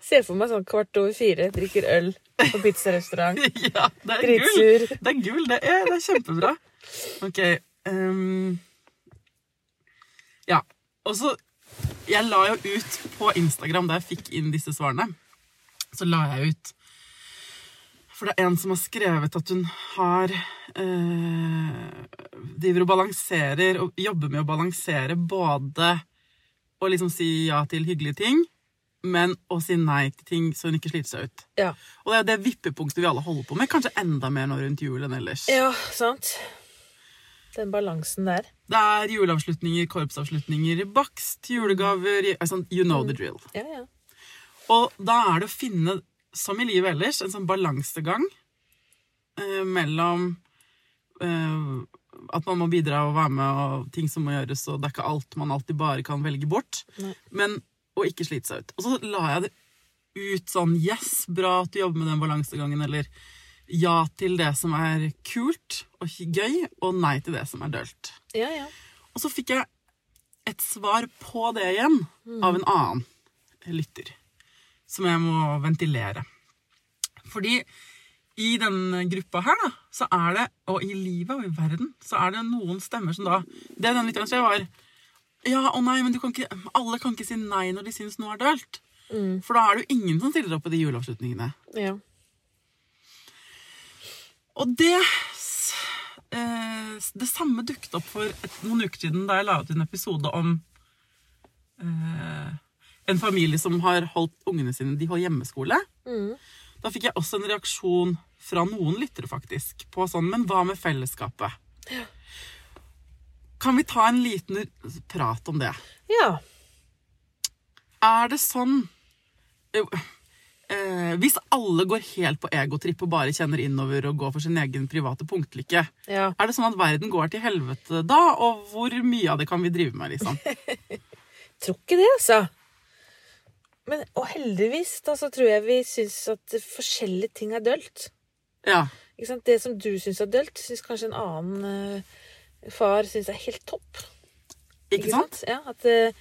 Speaker 2: Ser for meg sånn kvart over fire, drikker øl på pizzarestaurant.
Speaker 1: [laughs] Ja, det er gull!
Speaker 2: Dritsur.
Speaker 1: Det er gull, det er, det er kjempebra. Ok. ehm, ja. Og så Jeg la jo ut på Instagram, da jeg fikk inn disse svarene, så la jeg ut For det er en som har skrevet at hun har eh, Driver og balanserer og jobber med å balansere både å liksom si ja til hyggelige ting, men å si nei til ting så hun ikke sliter seg ut.
Speaker 2: [laughs] Ja.
Speaker 1: Og det er det vippepunktet vi alle holder på med, kanskje enda mer nå rundt jul enn ellers.
Speaker 2: ja, sant. Den balansen der.
Speaker 1: Det er juleavslutninger, korpsavslutninger, bakst, julegaver i- altså, You know the drill.
Speaker 2: Ja, ja.
Speaker 1: Og da er det å finne, som i livet ellers, en sånn balansegang eh, mellom eh, at man må bidra og være med, og ting som må gjøres, og det er ikke alt man alltid bare kan velge bort. Men å ikke slite seg ut. Og så la jeg det ut sånn Yes, bra at du jobber med den balansegangen, eller ja til det som er kult og gøy, og nei til det som er dølt.
Speaker 2: Ja, ja.
Speaker 1: Og så fikk jeg et svar på det igjen av en annen lytter, som jeg må ventilere. Fordi i denne gruppa her, da, så er det, og i livet og i verden, så er det noen stemmer som da Det den lytteren skrev, var Ja, å nei, men du kan ikke, alle kan ikke si nei når de syns noe er dølt. For da er det jo ingen som stiller opp i de juleavslutningene.
Speaker 2: ja.
Speaker 1: Og det s- eh, Det samme dukket opp for et, noen uker siden da jeg la ut en episode om eh, en familie som har holdt ungene sine De holder hjemmeskole. Da fikk jeg også en reaksjon fra noen lyttere faktisk på sånn Men hva med fellesskapet? Kan vi ta en liten r- prat om det?
Speaker 2: ja.
Speaker 1: Er det sånn jo, eh, Hvis alle går helt på egotripp og bare kjenner innover og går for sin egen private punktlykke,
Speaker 2: Ja.
Speaker 1: er det sånn at verden går til helvete da? Og hvor mye av det kan vi drive med, liksom?
Speaker 2: Tror ikke det, altså. Men, og heldigvis da, så tror jeg vi syns at forskjellige ting er dølt.
Speaker 1: Ja.
Speaker 2: Ikke sant? Det som du syns er dølt, syns kanskje en annen eh, far syns er helt topp.
Speaker 1: Ikke sant?
Speaker 2: Ja, at, eh,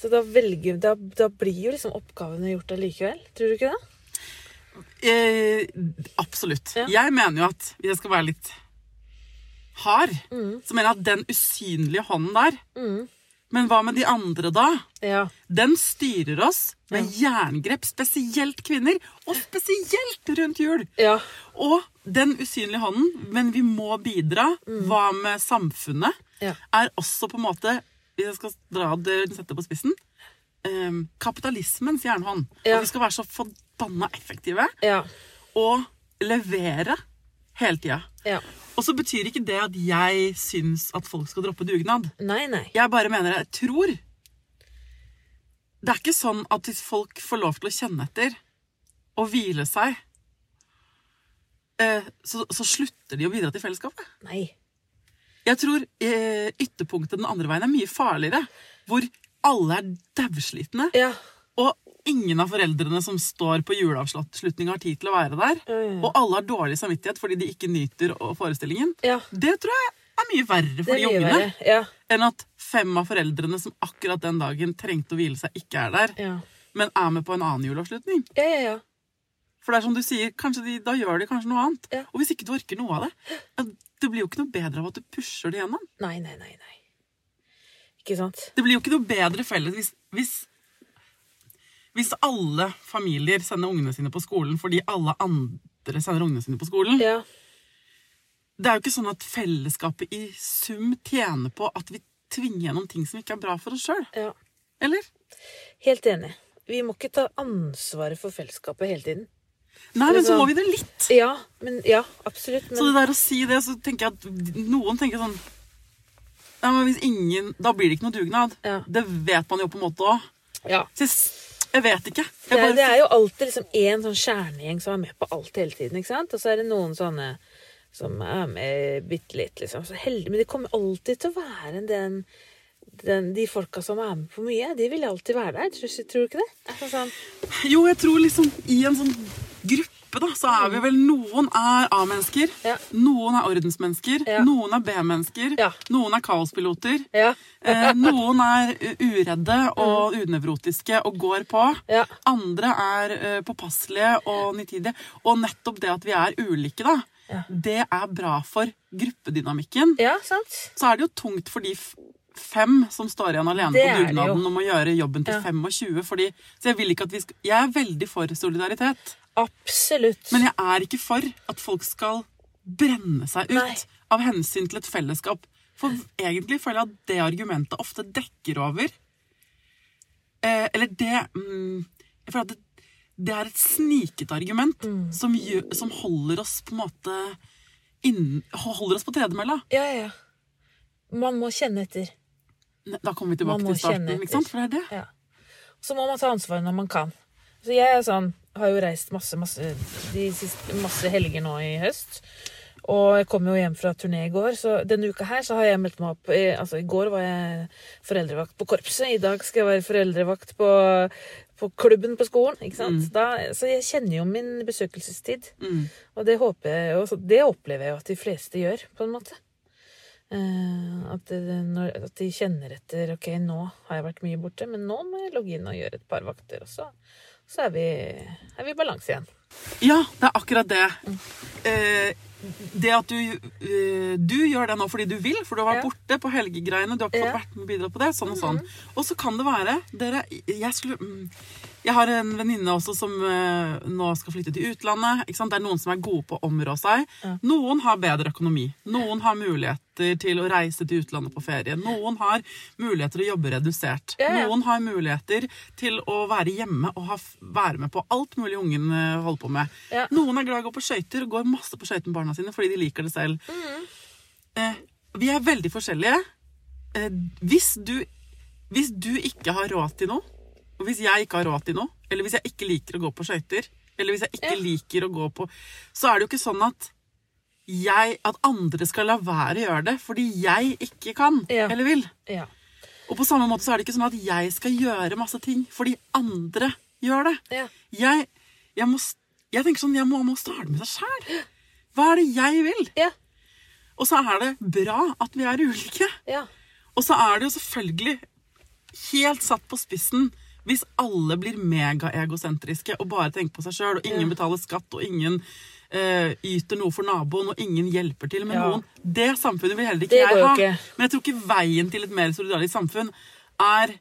Speaker 2: så da, velger, da, da blir jo liksom oppgavene gjort allikevel. Tror du ikke det?
Speaker 1: Eh, absolutt.
Speaker 2: Ja.
Speaker 1: Jeg mener jo at hvis jeg skal være litt hard, så mener jeg at den usynlige hånden der Men hva med de andre, da?
Speaker 2: Ja.
Speaker 1: Den styrer oss med jerngrep, spesielt kvinner, og spesielt rundt jul.
Speaker 2: Ja.
Speaker 1: Og den usynlige hånden, men vi må bidra. Hva med samfunnet?
Speaker 2: Mm. Ja.
Speaker 1: Er også på en måte, hvis jeg skal dra det, sette det på spissen, em, kapitalismens jernhånd.
Speaker 2: Ja.
Speaker 1: At vi skal være så forbanna effektive
Speaker 2: Ja.
Speaker 1: og levere hele tida.
Speaker 2: Ja.
Speaker 1: Og så betyr ikke det at jeg syns at folk skal droppe dugnad.
Speaker 2: Nei, nei.
Speaker 1: Jeg bare mener jeg tror Det er ikke sånn at hvis folk får lov til å kjenne etter og hvile seg, eh, så, så slutter de å bidra til fellesskapet.
Speaker 2: Nei.
Speaker 1: Jeg tror eh, ytterpunktet den andre veien er mye farligere, hvor alle er dævslitne,
Speaker 2: Ja.
Speaker 1: og ingen av foreldrene som står på juleavslutning har tid til å være der, og alle har dårlig samvittighet fordi de ikke nyter å- forestillingen.
Speaker 2: Ja.
Speaker 1: Det tror jeg er mye verre for
Speaker 2: Det
Speaker 1: de
Speaker 2: er mye
Speaker 1: ungene
Speaker 2: verre. Ja.
Speaker 1: enn at fem av foreldrene som akkurat den dagen trengte å hvile seg, ikke er der,
Speaker 2: Ja.
Speaker 1: men er med på en annen juleavslutning.
Speaker 2: Ja, ja, ja.
Speaker 1: For det er som du sier, kanskje de, da gjør de kanskje noe annet.
Speaker 2: Ja.
Speaker 1: Og hvis ikke du orker noe av det, ja, det blir jo ikke noe bedre av at du pusher det gjennom.
Speaker 2: Nei, nei, nei, nei. Ikke sant?
Speaker 1: Det blir jo ikke noe bedre felles hvis, hvis, hvis alle familier sender ungene sine på skolen fordi alle andre sender ungene sine på skolen.
Speaker 2: Ja.
Speaker 1: Det er jo ikke sånn at fellesskapet i sum tjener på at vi tvinger gjennom ting som ikke er bra for oss sjøl.
Speaker 2: ja.
Speaker 1: Eller?
Speaker 2: Helt enig. Vi må ikke ta ansvaret for fellesskapet hele tiden.
Speaker 1: Nei, men så
Speaker 2: Liksom-
Speaker 1: må vi det litt.
Speaker 2: Ja, men ja, absolutt.
Speaker 1: Så det
Speaker 2: Men
Speaker 1: der å si det, så tenker jeg at noen tenker sånn Nei, men hvis ingen, Da blir det ikke noe dugnad.
Speaker 2: Ja.
Speaker 1: Det vet man jo på en måte òg.
Speaker 2: ja.
Speaker 1: Så jeg, s- jeg vet ikke.
Speaker 2: Det
Speaker 1: Jeg
Speaker 2: er, det
Speaker 1: bare,
Speaker 2: er jo alltid liksom én sånn kjernegjeng som er med på alt hele tiden, ikke sant? Og så er det noen sånne som er med bitte litt, liksom. Så heldig, men de kommer alltid til å være den, den De folka som er med på mye, de vil alltid være der. Tror, tror du ikke det? Altså, sånn,
Speaker 1: jo, jeg tror liksom i en sånn gruppe, da, så er vi vel Noen er A-mennesker,
Speaker 2: Ja.
Speaker 1: noen er ordensmennesker,
Speaker 2: Ja.
Speaker 1: noen er B-mennesker,
Speaker 2: Ja.
Speaker 1: noen er kaospiloter.
Speaker 2: ja.
Speaker 1: Eh, noen er u- uredde og unevrotiske og går på.
Speaker 2: Ja.
Speaker 1: Andre er eh, påpasselige og nitidige. Og nettopp det at vi er ulike, da, det er bra for gruppedynamikken.
Speaker 2: Ja, sant?
Speaker 1: Så er det jo tungt for de f- fem som står igjen alene
Speaker 2: Det
Speaker 1: på
Speaker 2: er det jo.
Speaker 1: dugnaden om å gjøre jobben til
Speaker 2: Ja.
Speaker 1: 25. Fordi, så jeg, vil ikke at vi skal, jeg er veldig for solidaritet,
Speaker 2: Absolutt.
Speaker 1: men jeg er ikke for at folk skal brenne seg ut
Speaker 2: Nei.
Speaker 1: av hensyn til et fellesskap. For egentlig føler jeg at det argumentet ofte dekker over eh, Eller det mm, Jeg føler at det, det er et sniket argument
Speaker 2: Mm.
Speaker 1: som, gjør, som holder oss på en måte inn, Holder oss på tredemølla.
Speaker 2: Ja, ja, ja. Man må kjenne etter.
Speaker 1: Ne- Da kommer vi
Speaker 2: Man
Speaker 1: tilbake
Speaker 2: må
Speaker 1: til starten.
Speaker 2: kjenne
Speaker 1: ikke sant? For det er det.
Speaker 2: Ja. Så må man ta ansvar når man kan. Så jeg er sånn, har jo reist masse, masse, de siste, masse helger nå i høst. Og jeg kom jo hjem fra turné i går, så denne uka her så har jeg meldt meg opp. I, altså i går var jeg foreldrevakt på korpset, i dag skal jeg være foreldrevakt på, på klubben på skolen. ikke sant? Da, så jeg kjenner jo min besøkelsestid. Og det håper jeg jo, så det opplever jeg jo at de fleste gjør, på en måte. Eh, at, det, når, at de kjenner etter Ok, nå har jeg vært mye borte, men nå må jeg logge inn og gjøre et par vakter også. Så er vi, er vi i balanse igjen.
Speaker 1: Ja, det er akkurat det.
Speaker 2: Mm.
Speaker 1: Eh, det at du, eh, du gjør det nå fordi du vil, for du har vært
Speaker 2: Ja.
Speaker 1: borte på helgegreiene. Du har ikke fått
Speaker 2: Ja. Mm-hmm.
Speaker 1: vært med og bidratt på det, sånn og sånn. Og så kan det være dere, jeg, skulle, mm, jeg har en venninne også som eh, nå skal flytte til utlandet. Ikke sant? Det er noen som er gode på å områ seg. Noen har bedre økonomi. Noen har muligheter til å reise til utlandet på ferie. Noen har muligheter til å jobbe redusert.
Speaker 2: Ja, ja.
Speaker 1: Noen har muligheter til å være hjemme og ha, f- være med på alt mulig ungen eh, holder på med.
Speaker 2: Ja.
Speaker 1: Noen er glad i å gå på skøyter og går masse på skøyter med barna sine fordi de liker det selv.
Speaker 2: Mm.
Speaker 1: Eh, vi er veldig forskjellige. Eh, hvis, du, hvis du ikke har råd til noe, og hvis jeg ikke har råd til noe, eller hvis jeg ikke liker å gå på skøyter, eller hvis jeg ikke liker å gå på Så er det jo ikke sånn at jeg, at andre skal la være å gjøre det fordi jeg ikke kan
Speaker 2: Ja.
Speaker 1: eller vil.
Speaker 2: Ja.
Speaker 1: Og på samme måte så er det ikke sånn at jeg skal gjøre masse ting fordi andre gjør det.
Speaker 2: Ja.
Speaker 1: Jeg, jeg, må, s- jeg tenker sånn, jeg må, må starte med seg sjæl. Hva er det jeg vil?
Speaker 2: Ja.
Speaker 1: Og så er det bra at vi er ulike.
Speaker 2: ja.
Speaker 1: Og så er det jo selvfølgelig helt satt på spissen hvis alle blir megaegosentriske og bare tenker på seg sjøl, og ingen betaler skatt, og ingen eh, yter noe for naboen, og ingen hjelper til med
Speaker 2: Ja.
Speaker 1: noen. Det samfunnet vil heller ikke
Speaker 2: Det går
Speaker 1: jeg
Speaker 2: jo
Speaker 1: ha.
Speaker 2: ikke.
Speaker 1: Men jeg tror ikke veien til et mer solidarisk samfunn er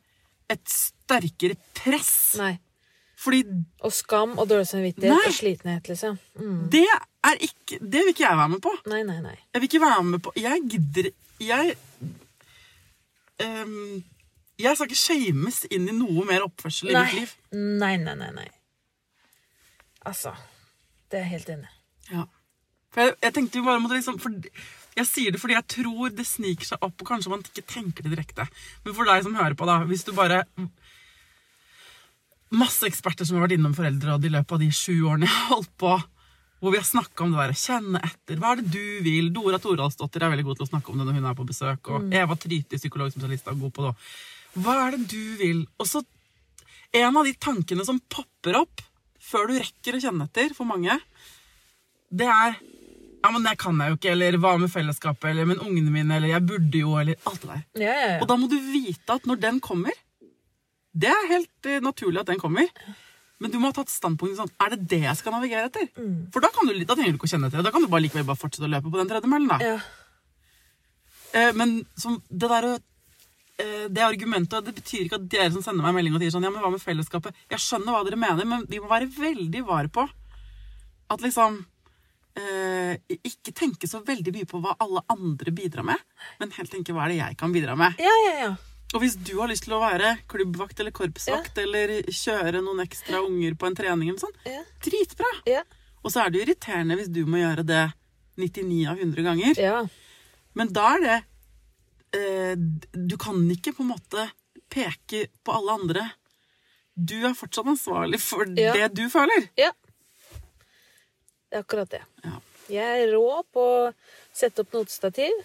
Speaker 1: et sterkere press.
Speaker 2: Nei.
Speaker 1: Fordi
Speaker 2: Og skam og dårlig samvittighet
Speaker 1: Nei.
Speaker 2: og slitenhet, liksom. Mm.
Speaker 1: det er ikke Det vil ikke jeg være med på.
Speaker 2: Nei, nei, nei.
Speaker 1: Jeg vil ikke være med på Jeg gidder Jeg ehm, Jeg skal ikke shames inn i noe mer oppførsel i mitt
Speaker 2: Nei.
Speaker 1: liv.
Speaker 2: nei, nei, nei, nei. Altså. Det er jeg helt enig i.
Speaker 1: Ja. For jeg, jeg tenkte jo bare måtte liksom for, Jeg sier det fordi jeg tror det sniker seg opp, og kanskje man ikke tenker det direkte. Men for deg som hører på, da, hvis du bare Masse eksperter som har vært innom foreldreråd i løpet av de sju årene jeg har holdt på, hvor vi har snakka om det der kjenne etter. Hva er det du vil? Dora Toralsdottir er veldig god til å snakke om det når hun er på besøk. Og Eva Tryti, psykologspesialist, er god på det òg. Hva er det du vil? Og så en av de tankene som popper opp før du rekker å kjenne etter for mange, det er Ja, men det kan jeg jo ikke, eller hva med fellesskapet, eller men ungene mine, eller jeg burde jo, eller alt det der.
Speaker 2: Ja, ja,
Speaker 1: Og
Speaker 2: ja.
Speaker 1: da må du vite at når den kommer Det er helt eh, naturlig at den kommer. Men du må ha tatt standpunkt sånn Er det det jeg skal navigere etter?
Speaker 2: Mm.
Speaker 1: For da, kan du, da trenger du ikke å kjenne etter. Da kan du bare likevel bare fortsette å løpe på den tredemøllen. da.
Speaker 2: ja.
Speaker 1: Eh, men som det der å eh, det argumentet, det betyr ikke at dere som sender meg melding og sier sånn, ja, men hva med fellesskapet? Jeg skjønner hva dere mener, men vi må være veldig vare på at liksom eh, ikke tenke så veldig mye på hva alle andre bidrar med, men helt tenke hva er det jeg kan bidra med.
Speaker 2: ja, ja, ja.
Speaker 1: Og hvis du har lyst til å være klubbvakt eller korpsvakt, eller kjøre noen ekstra unger på en trening eller sånn,
Speaker 2: Ja.
Speaker 1: dritbra!
Speaker 2: Ja.
Speaker 1: Og så er det jo irriterende hvis du må gjøre det 99 av 100 ganger.
Speaker 2: ja.
Speaker 1: Men da er det eh, Du kan ikke på en måte peke på alle andre. Du er fortsatt ansvarlig for
Speaker 2: Ja.
Speaker 1: det du føler.
Speaker 2: Ja. Det er akkurat det.
Speaker 1: Ja.
Speaker 2: Jeg er rå på å sette opp notestativ,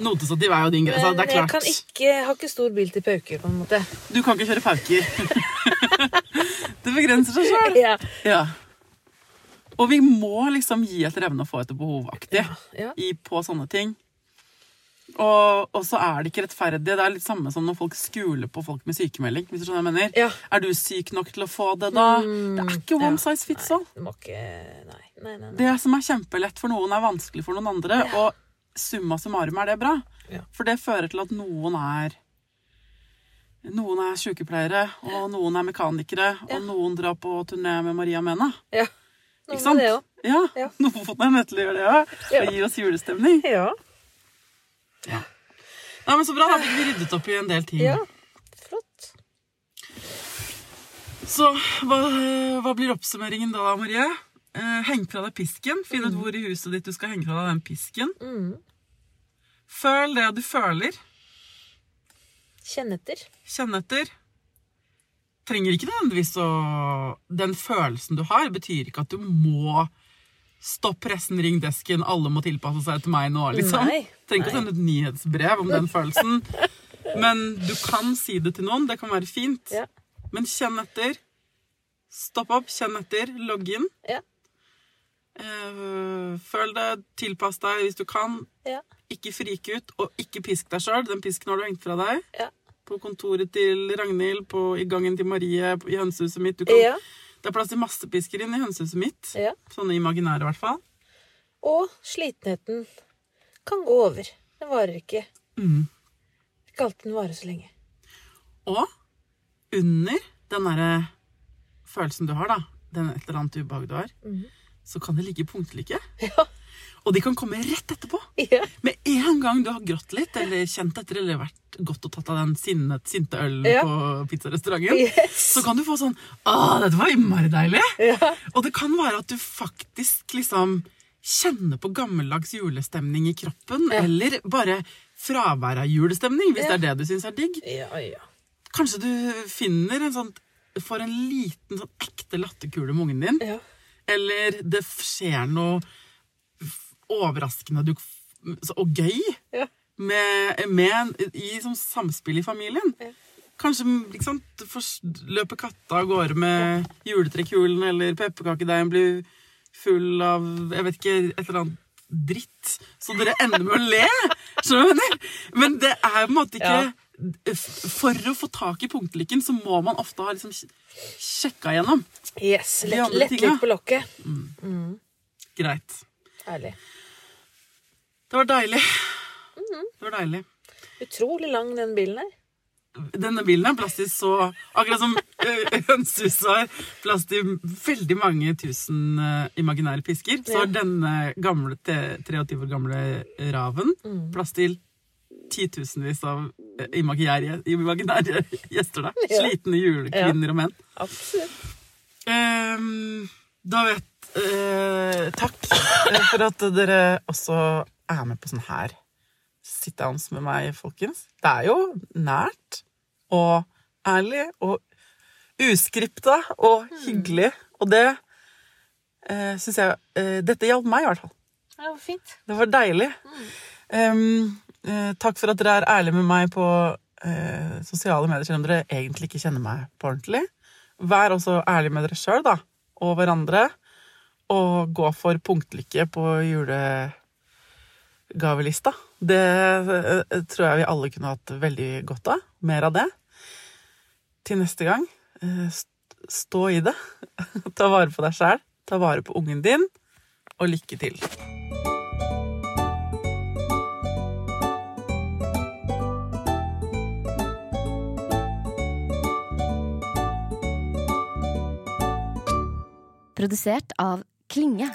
Speaker 1: Notestativ er jo din greie. så altså,
Speaker 2: men
Speaker 1: Det er
Speaker 2: jeg
Speaker 1: klart.
Speaker 2: kan ikke, jeg har ikke stor bil til pauker, på en måte.
Speaker 1: Du kan ikke kjøre pauker. [laughs] det begrenser seg sjøl.
Speaker 2: [laughs] Ja.
Speaker 1: Ja. Og vi må liksom gi etter evne og få etter behovaktig
Speaker 2: Ja, ja.
Speaker 1: i- på sånne ting. Og, og så er det ikke rettferdig. Det er litt samme som når folk skuler på folk med sykemelding. hvis du skjønner hva jeg mener.
Speaker 2: Ja. Mm.
Speaker 1: Er du syk nok til å få det, da? det er ikke one
Speaker 2: ja.
Speaker 1: size fits all.
Speaker 2: Du må ikke Nei, nei, nei. nei.
Speaker 1: Det som er kjempelett for noen, er vanskelig for noen andre. Og summa summarum er det bra.
Speaker 2: Ja.
Speaker 1: For det fører til at noen er noen er sykepleiere, og noen er mekanikere, og noen drar på turné med Maria Mena.
Speaker 2: Ja. Noe
Speaker 1: Ikke sant?
Speaker 2: med det òg.
Speaker 1: ja.
Speaker 2: Ja.
Speaker 1: [laughs] Noen er nødt til å gjøre det òg.
Speaker 2: Ja.
Speaker 1: Og gi oss julestemning.
Speaker 2: Ja.
Speaker 1: Nei, men Så bra, da fikk vi ryddet opp i en del ting.
Speaker 2: ja.
Speaker 1: Mm.
Speaker 2: Flott.
Speaker 1: Så hva, hva blir oppsummeringen da, Marie? Eh, heng fra deg pisken. Finn ut hvor i huset ditt du skal henge fra deg den pisken. Føl det du føler.
Speaker 2: Kjenn etter.
Speaker 1: Kjenn etter. Trenger ikke nødvendigvis å Den følelsen du har, betyr ikke at du må Stopp pressen, ring desken, alle må tilpasse seg til meg nå, liksom.
Speaker 2: Nei,
Speaker 1: Trenger ikke å sende et nyhetsbrev om den følelsen. Men du kan si det til noen, det kan være fint.
Speaker 2: Ja.
Speaker 1: Men kjenn etter. Stopp opp, kjenn etter, logg inn.
Speaker 2: Ja.
Speaker 1: Eh, Føl det, tilpass deg hvis du kan.
Speaker 2: Ja.
Speaker 1: Ikke frike ut, og ikke pisk deg sjøl. Den pisken har du hengt fra deg
Speaker 2: Ja.
Speaker 1: på kontoret til Ragnhild, på, i gangen til Marie, på, i hønsehuset mitt. Du kan,
Speaker 2: Ja.
Speaker 1: Det er plass til masse pisker inn i hønsehuset mitt.
Speaker 2: ja.
Speaker 1: Sånne imaginære, i hvert fall.
Speaker 2: Og slitenheten kan gå over. Den varer ikke.
Speaker 1: Mm.
Speaker 2: Ikke alltid den varer så lenge.
Speaker 1: Og under den derre følelsen du har, da, den et eller annet ubehag du har, så kan det ligge punktlykke.
Speaker 2: Mhm. Ja.
Speaker 1: Og de kan komme rett etterpå.
Speaker 2: Ja.
Speaker 1: Med en gang du har grått litt, eller kjent etter, eller vært godt og tatt av den sinne, sinte ølen
Speaker 2: Ja.
Speaker 1: på pizzarestauranten,
Speaker 2: Yes.
Speaker 1: så kan du få sånn Å, dette var innmari deilig! Og det kan være at du faktisk liksom kjenner på gammeldags julestemning i kroppen, eller bare fravær av julestemning, hvis det er det du syns er digg.
Speaker 2: Ja, ja.
Speaker 1: Kanskje du finner en sånn Får en liten sånn ekte latterkule med ungen din.
Speaker 2: Ja.
Speaker 1: Eller det f- skjer noe f- overraskende du, f- så- og gøy
Speaker 2: Ja.
Speaker 1: med, med en, i sånn samspill i familien. Kanskje ikke sant, du fors- løper katta av gårde med juletrekkulen, eller pepperkakedeigen blir full av jeg vet ikke, et eller annet dritt, så dere ender med å le. Skjønner du? hva jeg mener? Men det er på en måte ikke
Speaker 2: Ja.
Speaker 1: f- For å få tak i punktlykken, så må man ofte ha liksom sj- sjekka igjennom.
Speaker 2: Yes.
Speaker 1: De
Speaker 2: Lett,
Speaker 1: andre
Speaker 2: lett
Speaker 1: tinga.
Speaker 2: litt på lokket.
Speaker 1: Greit.
Speaker 2: Herlig.
Speaker 1: Det var deilig.
Speaker 2: Mhm.
Speaker 1: Det var deilig.
Speaker 2: Utrolig lang den bilen her.
Speaker 1: Denne bilen er plass til så Akkurat som eh, [laughs] hønsehuset har plass til veldig mange tusen eh, imaginære pisker, så har denne gamle, te- 23 år gamle raven plass til titusenvis av eh, imaginære, imaginære [laughs] gjester der. Slitne julekvinner og menn.
Speaker 2: Absolutt.
Speaker 1: Ehm, da vet Eh, takk eh, for at dere også er med på sånn her sit-downs med meg, folkens. Det er jo nært og ærlig og uskripta og
Speaker 2: Mm.
Speaker 1: hyggelig. Og det eh, syns jeg eh, Dette hjalp meg, i hvert fall.
Speaker 2: Ja, det var fint. Mm.
Speaker 1: Det var deilig. Um, eh, takk for at dere er ærlige med meg på eh, sosiale medier, selv om dere egentlig ikke kjenner meg på ordentlig. Vær også ærlig med dere sjøl og hverandre, og gå for punktlykke på julegavelista. Det eh, tror jeg vi alle kunne hatt veldig godt av. Mer av det. Til neste gang, eh, st- stå i det. [laughs] ta vare på deg sjæl, ta vare på ungen din, og lykke til.
Speaker 3: Produsert av Klinge.